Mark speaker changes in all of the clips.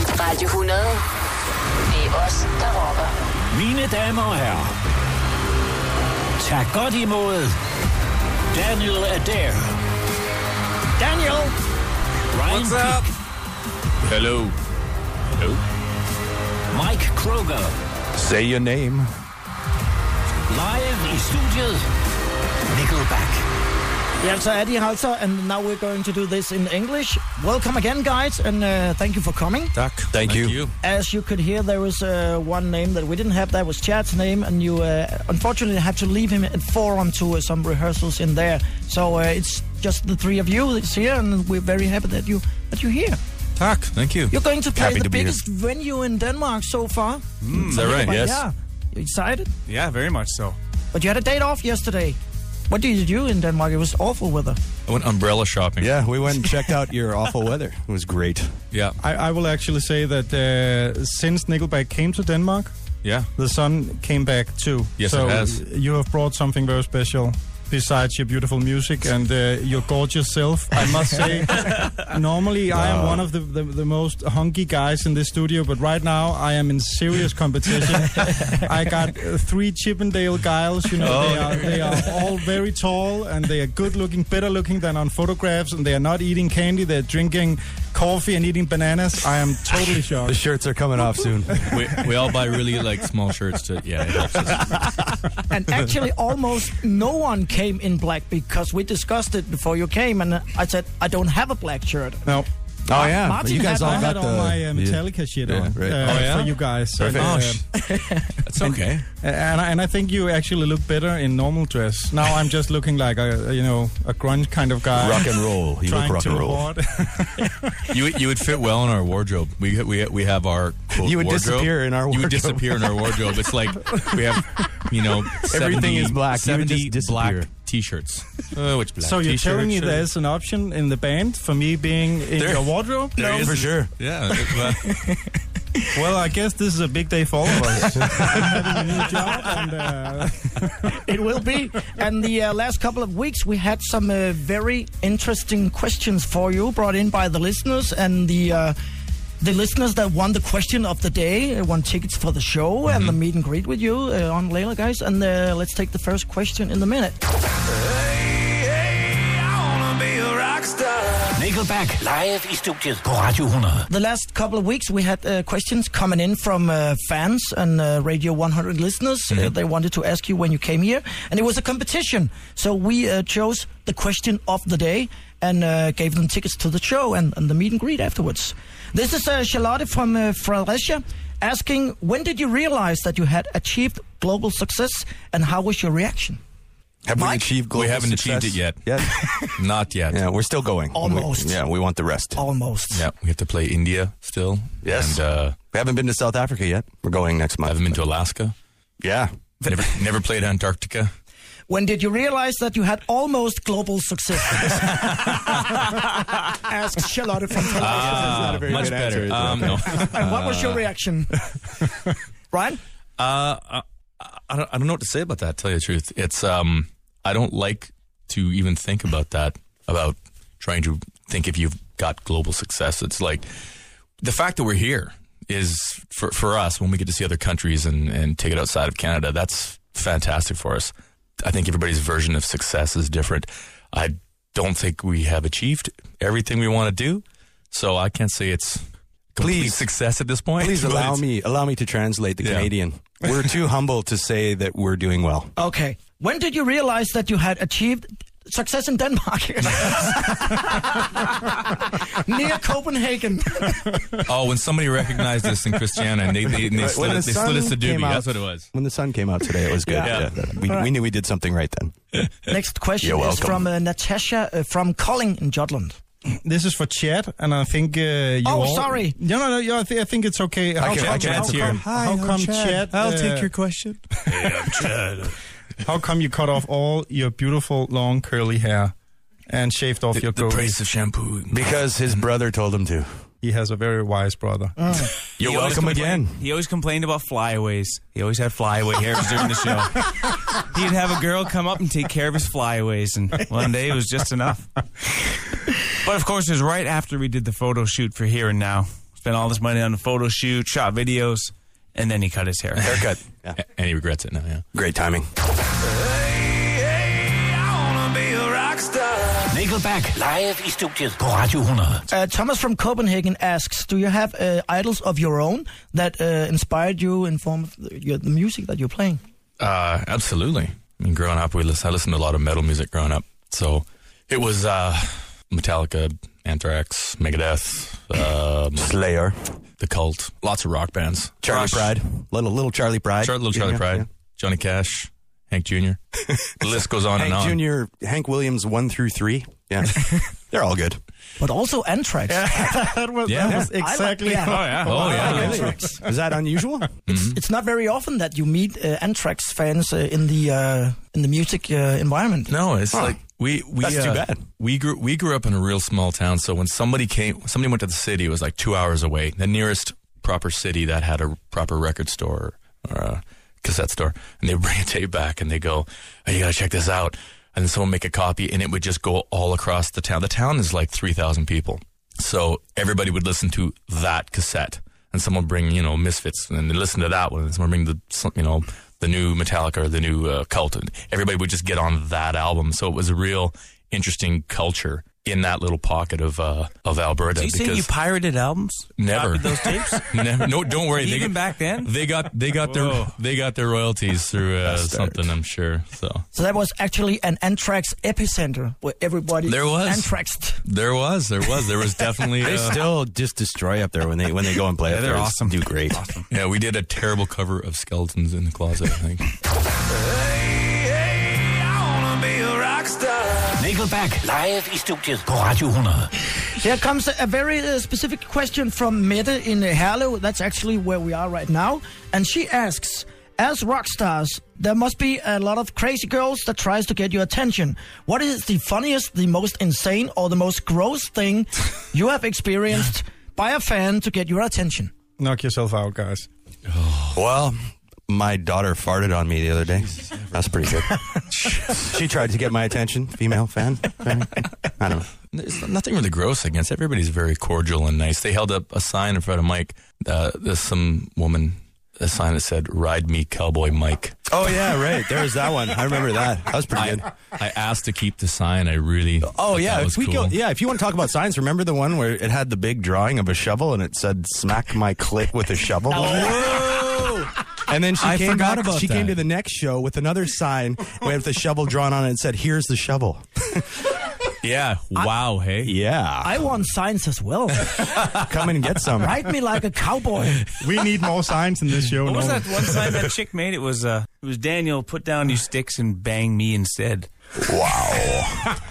Speaker 1: Radio 100. Det er os, der rocker.
Speaker 2: Mine damer og herrer, tag godt imod Daniel Adair. Daniel! Ryan
Speaker 3: What's
Speaker 2: Peake,
Speaker 3: up?
Speaker 4: Hello.
Speaker 2: Mike Kroger.
Speaker 4: Say your name.
Speaker 2: Live i studiet, Nickelback.
Speaker 5: Yeah, so Eddie Halter, and now we're going to do this in English. Welcome again, guys, and uh, thank you for coming.
Speaker 4: Thank, you.
Speaker 5: As you could hear, there was uh, one name that we didn't have. That was Chad's name, and you uh, unfortunately had to leave him at four on to uh, some rehearsals in there. So uh, it's just the three of you that's here, and we're very happy that you that you're here.
Speaker 3: Tak.
Speaker 4: Thank you.
Speaker 5: You're going to play
Speaker 4: Happy
Speaker 5: the
Speaker 4: to be here.
Speaker 5: biggest venue in Denmark so far.
Speaker 6: Mm,
Speaker 4: Is that right?
Speaker 5: But
Speaker 4: Yes.
Speaker 5: Yeah, you excited.
Speaker 3: Yeah, very much so.
Speaker 5: But you had a date off yesterday. What did you do in Denmark? It was awful weather.
Speaker 4: I went umbrella shopping.
Speaker 6: Yeah, we went and checked out your awful weather. It was great.
Speaker 4: Yeah.
Speaker 7: I, I will actually say that uh, since Nickelback came to Denmark,
Speaker 4: Yeah.
Speaker 7: the sun came back too.
Speaker 4: Yes,
Speaker 7: so
Speaker 4: it has.
Speaker 7: You have brought something very special. Besides your beautiful music and uh, your gorgeous self, I must say, normally I am one of the, the, the most hunky guys in this studio, but right now I am in serious competition. I got uh, three Chippendale Giles, you know,
Speaker 4: Oh.
Speaker 7: they, are, they are all very tall and they are good looking, better looking than on photographs, and they are not eating candy, they're drinking coffee and eating bananas. I am totally shocked.
Speaker 6: The shirts are coming off soon.
Speaker 4: we, we all buy really like small shirts to. Yeah. It helps us.
Speaker 5: and actually almost no one came in black because we discussed it before you came and I said I don't have a black shirt.
Speaker 7: No.
Speaker 6: Oh yeah,
Speaker 5: Martin
Speaker 6: you guys
Speaker 5: had
Speaker 6: all
Speaker 7: I
Speaker 5: one.
Speaker 6: got
Speaker 7: had
Speaker 6: the
Speaker 7: all my uh, Metallica shit
Speaker 6: Yeah,
Speaker 7: on
Speaker 6: right.
Speaker 7: uh,
Speaker 4: Oh, yeah?
Speaker 7: for you guys.
Speaker 4: Perfect.
Speaker 7: And,
Speaker 4: Oh,
Speaker 7: uh,
Speaker 4: sh- That's okay.
Speaker 7: and, I- and I think you actually look better in normal dress. Now I'm just looking like a you know a grunge kind of guy.
Speaker 6: rock and roll. You look
Speaker 7: trying
Speaker 6: rock
Speaker 7: to
Speaker 6: and roll.
Speaker 7: hoard.
Speaker 4: You you would fit well in our wardrobe. We we we have our quote,
Speaker 6: You would
Speaker 4: wardrobe.
Speaker 6: disappear in our
Speaker 4: You would
Speaker 6: wardrobe.
Speaker 4: disappear in our wardrobe. It's like we have you know 70,
Speaker 6: is black. You would
Speaker 4: Seventy
Speaker 6: just disappear.
Speaker 4: black t-shirts. Uh, which black
Speaker 7: so you're
Speaker 4: t-shirts
Speaker 7: telling me
Speaker 4: are-
Speaker 7: there's an option in the band for me being in
Speaker 4: There-
Speaker 7: your wardrobe?
Speaker 4: There
Speaker 7: No.
Speaker 4: is-
Speaker 6: for sure.
Speaker 4: Yeah. it- well,
Speaker 7: Well, I guess this is a big day for all of us. I'm having a new job and, uh,
Speaker 5: It will be. and the uh, last couple of weeks we had some uh, very interesting questions for you brought in by the listeners and the uh, the listeners that won the question of the day uh, won tickets for the show and the meet and greet with you uh, on later, guys. And uh, let's take the first question in a minute.
Speaker 2: Nickelback live i studiet på Radio 100.
Speaker 5: The last couple of weeks, we had uh, questions coming in from uh, fans and uh, Radio 100 listeners. Uh, they wanted to ask you when you came here, and it was a competition. So we uh, chose the question of the day and uh, gave them tickets to the show and, and the meet and greet afterwards. This is uh, Charlotte from uh, Fredericia asking, when did you realize that you had achieved global success, and how was your reaction?
Speaker 6: Have we achieved global
Speaker 4: we haven't achieved
Speaker 6: success
Speaker 4: it yet.
Speaker 6: Yet.
Speaker 4: Not yet.
Speaker 6: yeah, we're still going. We-
Speaker 5: Almost.
Speaker 6: yeah, we want the rest.
Speaker 5: Almost.
Speaker 4: Yeah, we have to play India still.
Speaker 6: Yes.
Speaker 4: And uh,
Speaker 6: We haven't been to South Africa yet. We're going
Speaker 4: I
Speaker 6: next month.
Speaker 4: haven't been to Alaska.
Speaker 6: Yeah.
Speaker 4: Never, never played Antarctica.
Speaker 5: When did you realize that you had almost global success? Asks Charlotte from
Speaker 6: Ah.
Speaker 5: Fredericia.
Speaker 6: not a very
Speaker 4: much
Speaker 6: good
Speaker 4: better.
Speaker 6: answer, is it?
Speaker 4: um, no.
Speaker 5: And what was your reaction? Ryan?
Speaker 4: Uh, I, I, don't, I don't know what to say about that. to Tell you the truth, it's um, I don't like to even think about that. About trying to think if you've got global success. It's like the fact that we're here is for for us when we get to see other countries and and take it outside of Canada. That's fantastic for us. I think everybody's version of success is different. I don't think we have achieved everything we want to do, so I can't say it's complete
Speaker 6: Please.
Speaker 4: success at this point.
Speaker 6: Please
Speaker 4: but
Speaker 6: allow
Speaker 4: it's-
Speaker 6: me allow me to translate the
Speaker 4: Yeah.
Speaker 6: Canadian. We're too humble to say that we're doing well.
Speaker 5: Okay. When did you realize that you had achieved success in Denmark? Near Copenhagen.
Speaker 4: Oh, when somebody recognized us in Christiana and they, they, and they, slid,
Speaker 6: the
Speaker 4: they slid us
Speaker 6: sun
Speaker 4: to
Speaker 6: came
Speaker 4: doobie.
Speaker 6: out-
Speaker 4: That's what it was.
Speaker 6: When the sun came out today, it was good.
Speaker 4: Yeah.
Speaker 6: We, we knew we did something right then.
Speaker 5: Next question
Speaker 6: You're
Speaker 5: is
Speaker 6: welcome.
Speaker 5: from uh, Natasha uh, from Colling in Jutland.
Speaker 7: this is for Chad, and I think uh, you.
Speaker 5: Oh,
Speaker 7: all-
Speaker 5: sorry.
Speaker 7: No, no, no. yeah, I, thi- I think it's okay. How
Speaker 4: can- I
Speaker 7: come-
Speaker 4: can
Speaker 7: how
Speaker 4: answer
Speaker 7: come-
Speaker 4: here.
Speaker 7: How come Chad? uh,
Speaker 6: question.
Speaker 7: How come you cut off all your beautiful long curly hair and shaved off your goatee?
Speaker 4: of shampoo.
Speaker 6: Because his brother told him to.
Speaker 7: He has a very wise brother.
Speaker 6: You're
Speaker 3: He always
Speaker 6: welcome
Speaker 3: complained-
Speaker 6: again.
Speaker 3: He always complained about flyaways. He always had flyaway hairs during the show. He'd have a girl come up and take care of his flyaways, and one day it was just enough. But of course, it was right after we did the photo shoot for Here and Now. spent all this money on a photo shoot, shot videos, and then he cut his hair.
Speaker 6: Haircut. Yeah.
Speaker 4: A- And he regrets it now, yeah.
Speaker 6: Great timing.
Speaker 2: Nickelback live i studiet på Radio 100.
Speaker 5: Uh, Thomas from Copenhagen asks, do you have uh, idols of your own that uh, inspired you in form of the, your, the music that you're playing?
Speaker 4: Uh, absolutely. I mean, growing up, we listen, I listened to a lot of metal music growing up. So it was uh, Metallica, Anthrax, Megadeth, um,
Speaker 6: Slayer.
Speaker 4: The Cult, lots of rock bands.
Speaker 6: Charlie
Speaker 4: Rush,
Speaker 6: Pride. Little little Charlie Pride.
Speaker 4: Char- little Charlie
Speaker 6: Yeah,
Speaker 4: Pride,
Speaker 6: yeah.
Speaker 4: Johnny Cash, Hank Jr. the list goes on and on.
Speaker 6: Hank Jr., Hank Williams, one through three. Yeah. They're all good.
Speaker 5: But also Anthrax.
Speaker 7: that was,
Speaker 4: Yeah.
Speaker 7: that was exactly.
Speaker 5: yeah.
Speaker 7: how-
Speaker 4: Oh, yeah.
Speaker 5: Anthrax.
Speaker 6: Is that unusual?
Speaker 5: Mm-hmm. It's not very often that you meet uh, Anthrax fans uh, in the uh, in the music uh, environment.
Speaker 4: No, it's like we we
Speaker 6: That's too
Speaker 4: uh,
Speaker 6: bad.
Speaker 4: We grew we grew up in a real small town, so when somebody came, when somebody went to the city, it was like two hours away. The nearest proper city that had a proper record store or a cassette store, and they bring a tape back and they go, "Oh, "You gotta check this out," and then someone make a copy, and it would just go all across the town. The town is like three thousand people, so everybody would listen to that cassette. And someone would bring, you know, Misfits, and then they listen to that one. And someone would bring the, you know, the new Metallica or the new uh, Cult, and everybody would just get on that album. So it was a real interesting culture in that little pocket of uh, of Alberta.
Speaker 3: you saying you pirated albums?
Speaker 4: never
Speaker 3: copied those tapes?
Speaker 4: never, no, don't worry.
Speaker 3: Even
Speaker 4: got-
Speaker 3: back then?
Speaker 4: they got they got
Speaker 3: Whoa.
Speaker 4: their they got their royalties through uh, something. I'm sure. So
Speaker 5: So that was actually an Anthrax epicenter where everybody
Speaker 4: There was.
Speaker 5: Anthraxed.
Speaker 4: there was there was there was definitely.
Speaker 6: They
Speaker 4: uh,
Speaker 6: still just destroy up there when they when they go and play. up
Speaker 3: they're
Speaker 6: there. They
Speaker 3: awesome.
Speaker 6: Do great.
Speaker 4: yeah, we did a terrible cover of Skeletons in the Closet. I think.
Speaker 2: Nickelback live i studiet på Radio 100.
Speaker 5: Here comes a very uh, specific question from Mette in uh, Herlev. That's actually where we are right now. And she asks, as rock stars, there must be a lot of crazy girls that tries to get your attention. What is the funniest, the most insane, or the most gross thing you have experienced by a fan to get your attention?
Speaker 7: Knock yourself out, guys.
Speaker 6: Well, my daughter farted on me the other day. That's pretty good. she tried to get my attention. Female fan. I don't know.
Speaker 4: There's nothing really gross against. Everybody's very cordial and nice. They held up a sign in front of Mike. Uh, there's some woman, a sign that said, "Ride me, Cowboy Mike."
Speaker 6: Oh yeah, right. There was that one. I remember that. That was pretty good.
Speaker 4: I, I asked to keep the sign. I really.
Speaker 6: Oh
Speaker 4: thought
Speaker 6: yeah,
Speaker 4: that
Speaker 6: if
Speaker 4: was
Speaker 6: we
Speaker 4: cool.
Speaker 6: go, yeah. If you want to talk about signs, remember the one where it had the big drawing of a shovel and it said "smack my clit with a shovel." And then she
Speaker 4: Oh, I
Speaker 6: came
Speaker 4: forgot
Speaker 6: back-
Speaker 4: about
Speaker 6: she came
Speaker 4: that.
Speaker 6: to the next show with another sign with a shovel drawn on it and said, "Here's the shovel."
Speaker 4: Yeah. Wow. hey.
Speaker 6: Yeah,
Speaker 5: I want signs as well.
Speaker 6: come and get some.
Speaker 5: Ride me like a cowboy.
Speaker 7: We need more signs in this show.
Speaker 3: What was
Speaker 7: no?
Speaker 3: that one sign that chick made? It was uh, it was Daniel. Put down your sticks and bang me instead.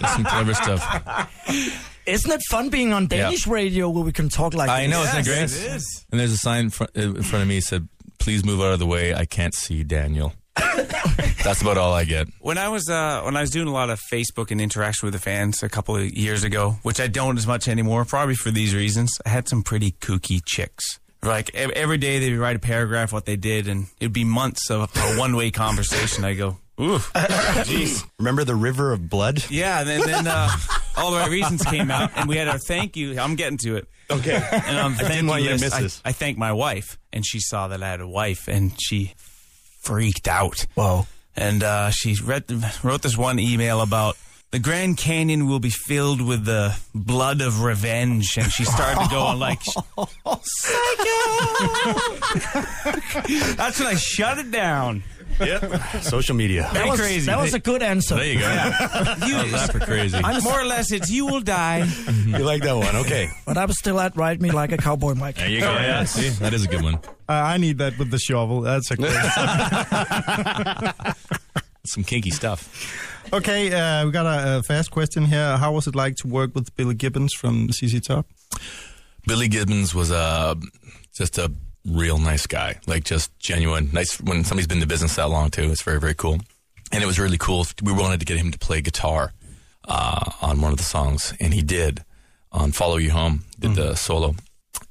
Speaker 4: That's some clever stuff.
Speaker 5: Isn't it fun being on Danish radio where we can talk like
Speaker 4: I
Speaker 5: this?
Speaker 4: know. isn't it great? And there's a sign in front, in front of me that said, "Please move out of the way. I can't see Daniel." That's about all I get.
Speaker 3: When I was uh, when I was doing a lot of Facebook and interaction with the fans a couple of years ago, which I don't as much anymore, probably for these reasons, I had some pretty kooky chicks. Like ev- every day they'd write a paragraph what they did, and it'd be months of a one way conversation. I go, ooh, jeez.
Speaker 6: Remember the river of blood?
Speaker 3: Yeah, and then, then uh, all the right reasons came out, and we had our thank you. I'm getting to it.
Speaker 6: Okay.
Speaker 3: And on the thank
Speaker 6: want you to
Speaker 3: list,
Speaker 6: miss
Speaker 3: I,
Speaker 6: this.
Speaker 3: I thanked my wife, and she saw that I had a wife, and she freaked out. Whoa. And uh, she read, wrote this one email about the Grand Canyon will be filled with the blood of revenge, and she started to go on like, psycho. That's when I shut it down.
Speaker 6: Social media.
Speaker 3: That
Speaker 5: was-
Speaker 3: crazy.
Speaker 5: That was a good answer.
Speaker 4: There you go. How's Oh, that for crazy?
Speaker 3: I'm more or less it's you will die.
Speaker 6: You like that one? Okay.
Speaker 5: But I was still at Ride Me Like a Cowboy, Mike.
Speaker 4: there you go. Yeah. See, that is a good one.
Speaker 7: Uh, I need that with the shovel. That's a great.
Speaker 4: Some kinky stuff.
Speaker 7: okay, uh, we got a, a fast question here. How was it like to work with Billy Gibbons from CC Top?
Speaker 4: Billy Gibbons was a just a real nice guy, like just genuine nice. When somebody's been in the business that long too, it's very very cool. And it was really cool. We wanted to get him to play guitar uh, on one of the songs, and he did on "Follow You Home." Did the solo,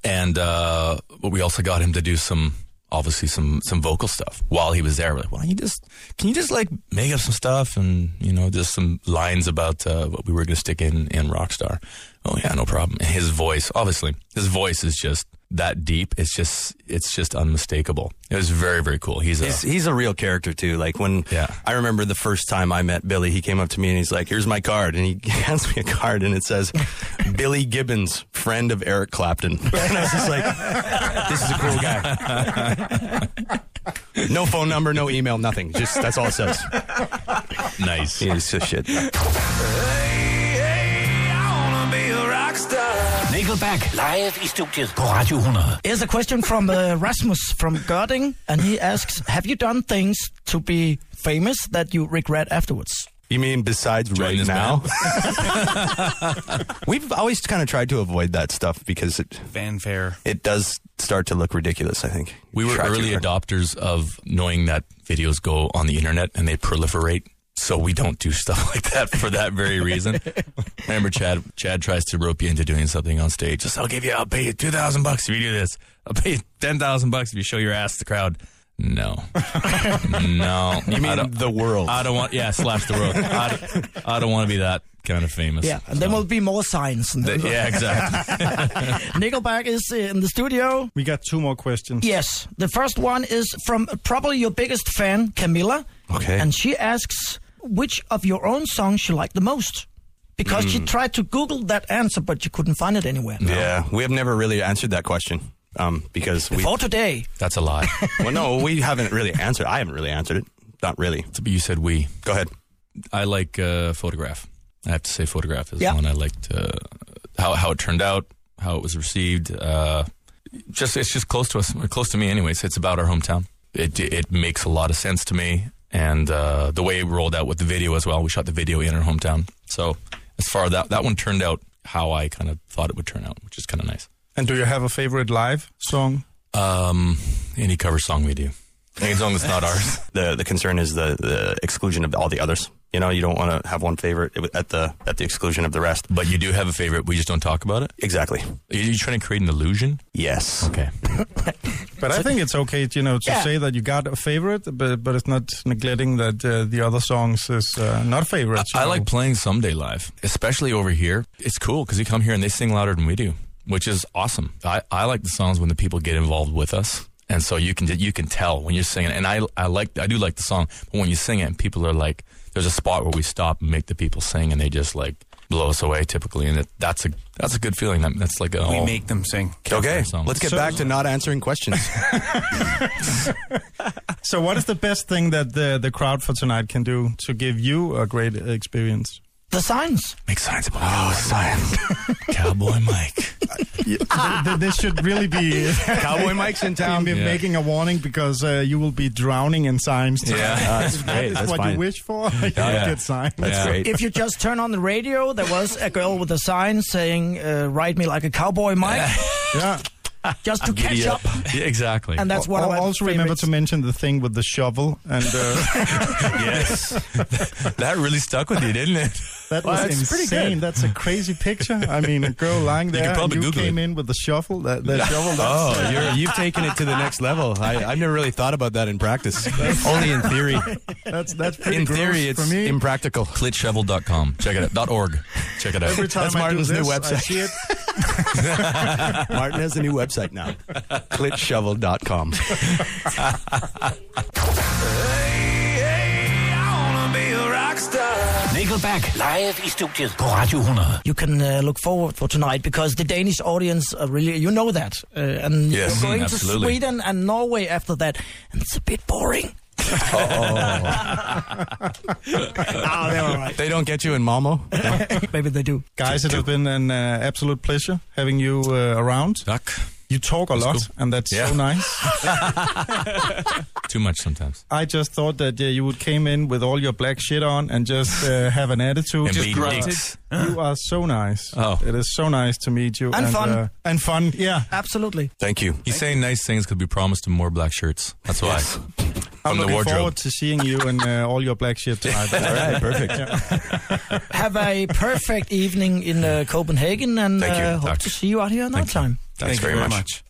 Speaker 4: and uh, but we also got him to do some obviously some some vocal stuff while he was there. We're like, why don't you just can you just like make up some stuff and you know just some lines about uh, what we were going to stick in in Rockstar. Oh yeah, no problem. And his voice, obviously, his voice is just that deep. It's just it's just unmistakable. It was very very cool. He's uh, a
Speaker 6: He's, he's a real character too. Like when
Speaker 4: Yeah.
Speaker 6: I remember the first time I met Billy, he came up to me and he's like, "Here's my card," and he hands me a card and it says, "Billy Gibbons, friend of Eric Clapton." And I was just like, "This is a cool guy." no phone number, no email, nothing. Just that's all it says.
Speaker 4: nice.
Speaker 6: It's just shit.
Speaker 2: Nickelback live i studiet på Radio 100.
Speaker 5: Here's a question from uh, Rasmus from Görding, and he asks, "Have you done things to be famous that you regret afterwards?"
Speaker 6: You mean besides right
Speaker 4: this
Speaker 6: now? We've always kind of tried to avoid that stuff because it
Speaker 3: Fanfare.
Speaker 6: it does start to look ridiculous. I think
Speaker 4: We were
Speaker 6: Try to-
Speaker 4: early adopters of knowing that videos go on the internet and they proliferate. So we don't do stuff like that for that very reason. Remember, Chad? Chad tries to rope you into doing something on stage. Just I'll give you, I'll pay you two thousand bucks if you do this. I'll pay you ten thousand bucks if you show your ass to the crowd. No, no. You
Speaker 6: I mean, the world.
Speaker 4: I don't want. Yeah, slash the world. I don't, I don't want to be that kind of famous.
Speaker 5: Yeah, and there will be more signs.
Speaker 4: Th- yeah, exactly.
Speaker 5: Nickelback is in the studio.
Speaker 7: We got two more questions.
Speaker 5: Yes, the first one is from probably your biggest fan, Camilla.
Speaker 6: Okay.
Speaker 5: And she asks, which of your own songs she liked the most? Because she tried to Google that answer, but she couldn't find it anywhere.
Speaker 6: Hmm. Yeah, we have never really answered that question um, because we.
Speaker 5: For today,
Speaker 4: That's a lie.
Speaker 6: Well, no, we haven't really answered. I haven't really answered it. Not really.
Speaker 4: But you said we.
Speaker 6: Go ahead.
Speaker 4: I like uh, photograph. I have to say, photograph is
Speaker 5: Yeah.
Speaker 4: the one I liked. Uh, how how it turned out, how it was received. Uh, just it's just close to us, or close to me, anyways. It's about our hometown. It it makes a lot of sense to me, and uh, the way it rolled out with the video as well. We shot the video in our hometown, so as far that that one turned out how I kind of thought it would turn out, which is kind of nice.
Speaker 7: And do you have a favorite live song?
Speaker 4: Um, any cover song we do, any song that's not ours.
Speaker 6: the The concern is the the exclusion of all the others. You know, you don't want to have one favorite at the at the exclusion of the rest.
Speaker 4: But you do have a favorite. We just don't talk about it.
Speaker 6: Exactly.
Speaker 4: Are you trying to create an illusion?
Speaker 6: Yes.
Speaker 4: Okay.
Speaker 7: But I think it's okay, you know, to
Speaker 5: Yeah.
Speaker 7: say that you got a favorite, but but it's not neglecting that uh, the other songs is uh, not favorites. you
Speaker 4: I
Speaker 7: know.
Speaker 4: like playing Someday live, especially over here. It's cool because you come here and they sing louder than we do, which is awesome. I, I like the songs when the people get involved with us. And so you can you can tell when you're singing, and I I like I do like the song, but when you sing it, and people are like, there's a spot where we stop and make the people sing, and they just like blow us away typically, and it, that's a that's a good feeling. That, that's like a
Speaker 3: We
Speaker 4: oh,
Speaker 3: make them sing.
Speaker 6: Okay.
Speaker 4: Song.
Speaker 6: Let's get
Speaker 7: So-
Speaker 6: back to not answering questions.
Speaker 7: So, what is the best thing that the the crowd for tonight can do to give you a great experience?
Speaker 5: the signs.
Speaker 4: make signs about
Speaker 6: oh, science.
Speaker 4: Cowboy Mike.
Speaker 7: Th- this should really be
Speaker 6: Cowboy Mike's in town.
Speaker 7: be
Speaker 4: Yeah.
Speaker 7: making a warning because uh, you will be drowning in signs. tonight.
Speaker 4: Yeah,
Speaker 6: That's great.
Speaker 7: That's
Speaker 6: That's
Speaker 7: what you
Speaker 6: fine.
Speaker 7: wish for. you
Speaker 4: yeah.
Speaker 7: get signs.
Speaker 6: That's
Speaker 4: Yeah.
Speaker 6: great.
Speaker 5: If you just turn on the radio, there was a girl with a sign saying, uh, Ride me like a cowboy, Mike,
Speaker 7: Yeah.
Speaker 5: just to catch
Speaker 4: Yeah.
Speaker 5: up.
Speaker 4: Yeah, exactly.
Speaker 5: And that's one
Speaker 7: Al-
Speaker 5: of my
Speaker 7: also remember
Speaker 5: favorites.
Speaker 7: to mention the thing with the shovel, and uh,
Speaker 4: yes, that really stuck with you, didn't it?
Speaker 7: that
Speaker 4: Well,
Speaker 7: was
Speaker 4: that's pretty
Speaker 7: insane.
Speaker 4: good.
Speaker 7: That's a crazy picture. I mean, a girl lying there, and
Speaker 4: probably
Speaker 7: you
Speaker 4: Google
Speaker 7: came
Speaker 4: it.
Speaker 7: in with the shovel. That, that shovel.
Speaker 6: Oh, you're, you've taken it to the next level. I, I've never really thought about that in practice. Only in theory.
Speaker 7: That's that's pretty
Speaker 6: In
Speaker 7: gross
Speaker 6: theory, it's
Speaker 7: for me.
Speaker 6: impractical.
Speaker 4: Clitshovel.com. Check it out. Dot .org. Check it out.
Speaker 7: Every time
Speaker 6: That's
Speaker 7: I do
Speaker 6: Martin's new
Speaker 7: this, I
Speaker 6: website.
Speaker 7: see it.
Speaker 6: Martin has a new website now. Clitshovel.com.
Speaker 2: Nickelback live i studiet på Radio 100.
Speaker 5: you can uh, look forward for tonight because the Danish audience are really you know that uh, and
Speaker 4: Yes,
Speaker 5: you're going
Speaker 4: absolutely.
Speaker 5: to Sweden and Norway after that and it's a bit boring. oh, they're all right.
Speaker 6: They don't get you in Malmo?
Speaker 5: Maybe they do.
Speaker 7: Guys, it has been an uh, absolute pleasure having you uh, around.
Speaker 4: Duck.
Speaker 7: You talk a lot,
Speaker 4: cool.
Speaker 7: and that's
Speaker 4: Yeah.
Speaker 7: so nice.
Speaker 4: Too much sometimes.
Speaker 7: I just thought that uh, you would came in with all your black shit on and just uh, have an attitude.
Speaker 4: And be
Speaker 3: grunted.
Speaker 4: dicks.
Speaker 7: you are so nice.
Speaker 4: Oh.
Speaker 7: It is so nice to meet you.
Speaker 5: And fun.
Speaker 7: uh, and fun, yeah.
Speaker 5: Absolutely.
Speaker 6: Thank you.
Speaker 4: He's saying nice things because we promised him more black shirts. That's why.
Speaker 7: I'm
Speaker 4: From the
Speaker 7: looking
Speaker 4: wardrobe.
Speaker 7: forward to seeing you and uh, all your black shit tonight.
Speaker 6: All right, perfect.
Speaker 5: Have a perfect evening in uh, Copenhagen and
Speaker 6: Thank you.
Speaker 5: uh, hope
Speaker 4: Tack.
Speaker 5: to see you out here another time.
Speaker 6: Thanks
Speaker 3: Thank you
Speaker 6: very much.
Speaker 3: much.